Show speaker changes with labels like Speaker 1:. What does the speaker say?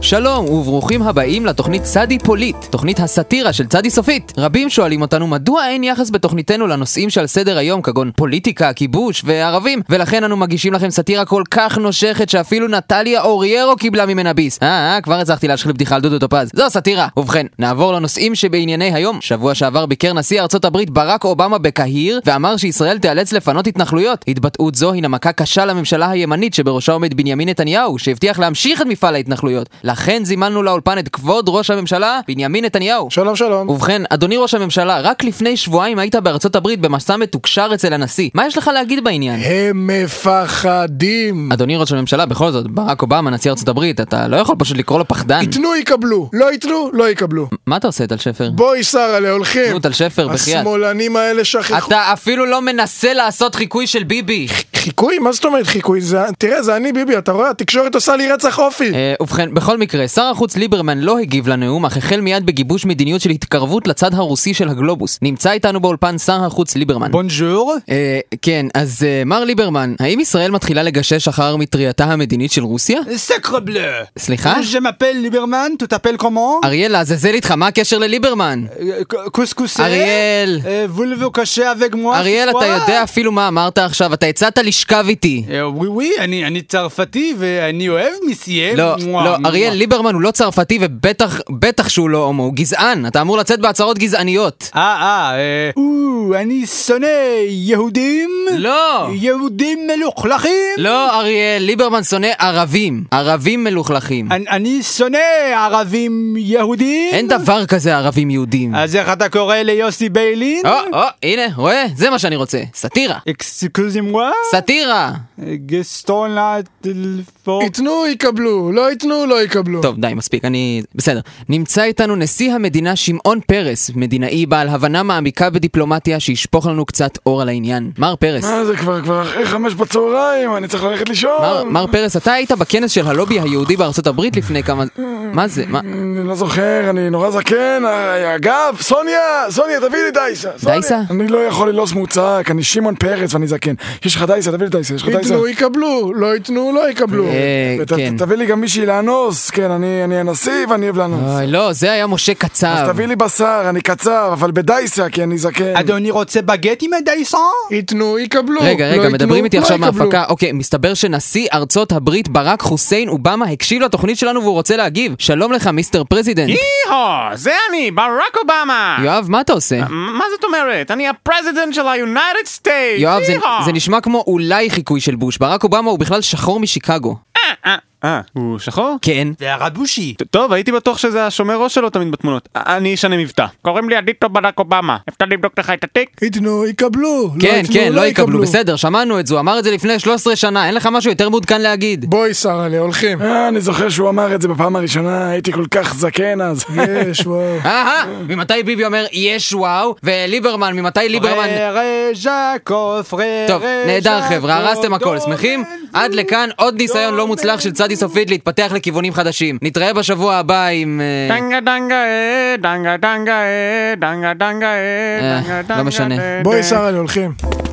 Speaker 1: שלום וברוכים הבאים לתוכנית צדי פוליט, תוכנית הסאטירה של צדי סופית. רבים שואלים אותנו מדוע אין יחס בתוכניתנו לנושאים שעל סדר היום כגון פוליטיקה, כיבוש וערבים, ולכן אנו מגישים לכם סאטירה כל כך נושכת שאפילו נטליה אוריירו קיבלה ממנה ביס. אה, אה, כבר הצלחתי להשחיל בדיחה על דודו טופז. זו סאטירה. ובכן, נעבור לנושאים שבענייני היום. שבוע שעבר ביקר נשיא ארצות הברית ברק אובמה בקהיר, ואמר שישראל תיאלץ לפנות התנחלויות. התבטאות זו הינה מכה קשה לממשלה הימנית שבראשה עומד בנימין נתניהו, שהבטיח להמשיך את מפעל ההתנחלויות. לכן זימנו לאולפן את כבוד ראש הממשלה, בנימין נתניהו.
Speaker 2: שלום שלום.
Speaker 1: ובכן, אדוני ראש הממשלה, רק לפני שבועיים היית בארצות הברית במסע מתוקשר אצל הנשיא. מה יש לך להגיד בעניין?
Speaker 2: הם מפחדים.
Speaker 1: אדוני ראש הממשלה, בכל זאת, ברק אובמה, נשיא ארצות הברית, אתה לא יכול פשוט לקרוא לו פחדן.
Speaker 2: ייתנו יקבלו, לא ייתנו לא יקבלו.
Speaker 1: מה אתה עושה, טל שפר?
Speaker 2: בואי שרלה הולכים.
Speaker 1: נו, טל שפר, בחייאת.
Speaker 2: השמאלנים האלה שכחו.
Speaker 1: אתה אפילו לא מנסה לעשות חיקוי של ביבי.
Speaker 2: חיקוי? מה זאת אומרת חיקוי? זה- תראה זה אני ביבי אתה רואה התקשורת עושה לי רצח אופי.
Speaker 1: אה, ובכן, בכל מקרה, שר החוץ ליברמן לא הגיב לנאום, אך החל מיד בגיבוש מדיניות של התקרבות לצד הרוסי של הגלובוס. נמצא איתנו באולפן שר החוץ ליברמן.
Speaker 3: בונג'ור.
Speaker 1: אה, כן, אז אה, מר ליברמן, האם ישראל מתחילה לגשש אחר מטרייתה המדינית של רוסיה?
Speaker 3: סקר בלה.
Speaker 1: סליחה?
Speaker 3: Je m'appelle ליברמן, tu t'appelles comment? Euh,
Speaker 1: אריאל, לעזאזל איתך, מה הקשר לליברמן?
Speaker 3: קוסקוסי?
Speaker 1: אריאל.
Speaker 3: וולבו קשה avec moi?
Speaker 1: אריאל, אתה יודע אפילו מה אמרת עכשיו, אתה הצעת לשכב איתי.
Speaker 3: ווי ווי, אני אני צרפתי ואני אוהב מיסייה.
Speaker 1: לא, לא, אריאל, ליברמן הוא לא צרפתי ובטח, בטח שהוא לא הומו, הוא גזען, אתה אמור לצאת בהצהרות גזעניות.
Speaker 3: אה, אה, אה, או, אני שונא יהודים.
Speaker 1: לא!
Speaker 3: יהודים מלוכלכים.
Speaker 1: לא, אריאל, ליברמן שונא ערבים. ערבים מלוכלכים.
Speaker 3: אני- אני שונא ערבים יהודים.
Speaker 1: אין דבר כזה ערבים יהודים.
Speaker 3: אז איך אתה קורא ליוסי ביילין?
Speaker 1: או, או, הנה, רואה? זה מה שאני רוצה. סאטירה.
Speaker 3: אקסקוזי מווה?
Speaker 1: סאטירה!
Speaker 3: גסטון לטלפון.
Speaker 2: ייתנו יקבלו, לא ייתנו לא יקבלו.
Speaker 1: טוב, די, מספיק, אני... בסדר. נמצא איתנו נשיא המדינה שמעון פרס, מדינאי בעל הבנה מעמיקה בדיפלומטיה שישפוך לנו קצת אור על העניין. מר פרס.
Speaker 2: מה אה, זה כבר כבר אחרי חמש בצהריים אני צריך ללכת
Speaker 1: מר,
Speaker 2: לישון.
Speaker 1: מר פרס, אתה היית בכנס של הלובי היהודי בארצות הברית לפני כמה... מה זה? מה?
Speaker 2: אני לא זוכר, אני נורא זקן, אה, אגב, סוניה, סוניה, תביאי לי דייסה. סוניה.
Speaker 1: דייסה?
Speaker 2: אני לא יכול ללעוס מוצק, אני שמעון פרץ ואני זקן. יש לך דייסה, תביא לי דייסה, יש לך דייסה. ייתנו, יקבלו, לא ייתנו, לא יקבלו.
Speaker 1: אה, כן.
Speaker 2: תביא לי גם מישהי לאנוס, כן, אני אני הנשיא ואני אוהב לאנוס.
Speaker 1: אוי, לא, זה היה משה קצב.
Speaker 2: אז תביא לי בשר, אני קצר, אבל בדייסה, כי אני זקן.
Speaker 3: אדוני רוצה בגט עם הדייסון?
Speaker 2: ייתנו, יקבלו. לא
Speaker 1: רגע, רגע, מדברים איתי עכשיו מההפקה. אוקיי, מסתבר שנשיא ארצות הברית ברק חוסיין אובמה הקשיב לתוכנית שלנו והוא רוצה להגיב. שלום לך, מיסטר פרזידנט.
Speaker 4: יהו, זה אני, ברק אובמה!
Speaker 1: יואב, מה אתה עושה?
Speaker 4: מה זאת אומרת? אני הפרזידנט של ה-United States!
Speaker 1: יואב, זה,
Speaker 4: יהו!
Speaker 1: זה נשמע כמו אולי חיקוי של בוש. ברק אובמה הוא בכלל שחור משיקגו.
Speaker 4: אה, אה, הוא שחור?
Speaker 1: כן.
Speaker 3: זה הרבושי.
Speaker 4: ט- טוב, הייתי בטוח שזה השומר ראש שלו תמיד בתמונות. א- אני אשנה מבטא. קוראים לי אדיטו ברק אובמה. אפשר לבדוק לך את התיק?
Speaker 2: ייתנו, יקבלו.
Speaker 1: כן, כן, לא יקבלו, בסדר, שמענו את זה, הוא אמר את זה לפני 13 שנה, אין לך משהו יותר מעודכן להגיד.
Speaker 2: בואי שרלה, הולכים. אה, אני זוכר שהוא אמר את זה בפעם הראשונה, הייתי כל כך זקן אז. יש, וואו.
Speaker 1: אהה, ממתי ביבי אומר יש וואו, וליברמן, ממתי ליברמן...
Speaker 3: פררה ז'קו, פררה
Speaker 1: טוב, נהדר
Speaker 3: ז'קו,
Speaker 1: חבר'ה, הרסתם הכל,
Speaker 3: דורן
Speaker 1: שמחים?
Speaker 3: ז'קו.
Speaker 1: עד לכאן עוד ניסיון לא מוצלח של צדי סופית להתפתח לכיוונים חדשים. נתראה בשבוע הבא עם... אה,
Speaker 4: דנגה דנגה אה, דנגה דנגה אה, דנגה דנגה אה,
Speaker 1: אה,
Speaker 4: דנגה
Speaker 1: לא משנה.
Speaker 4: אה,
Speaker 2: בואי
Speaker 4: אה.
Speaker 2: שרלה, הולכים.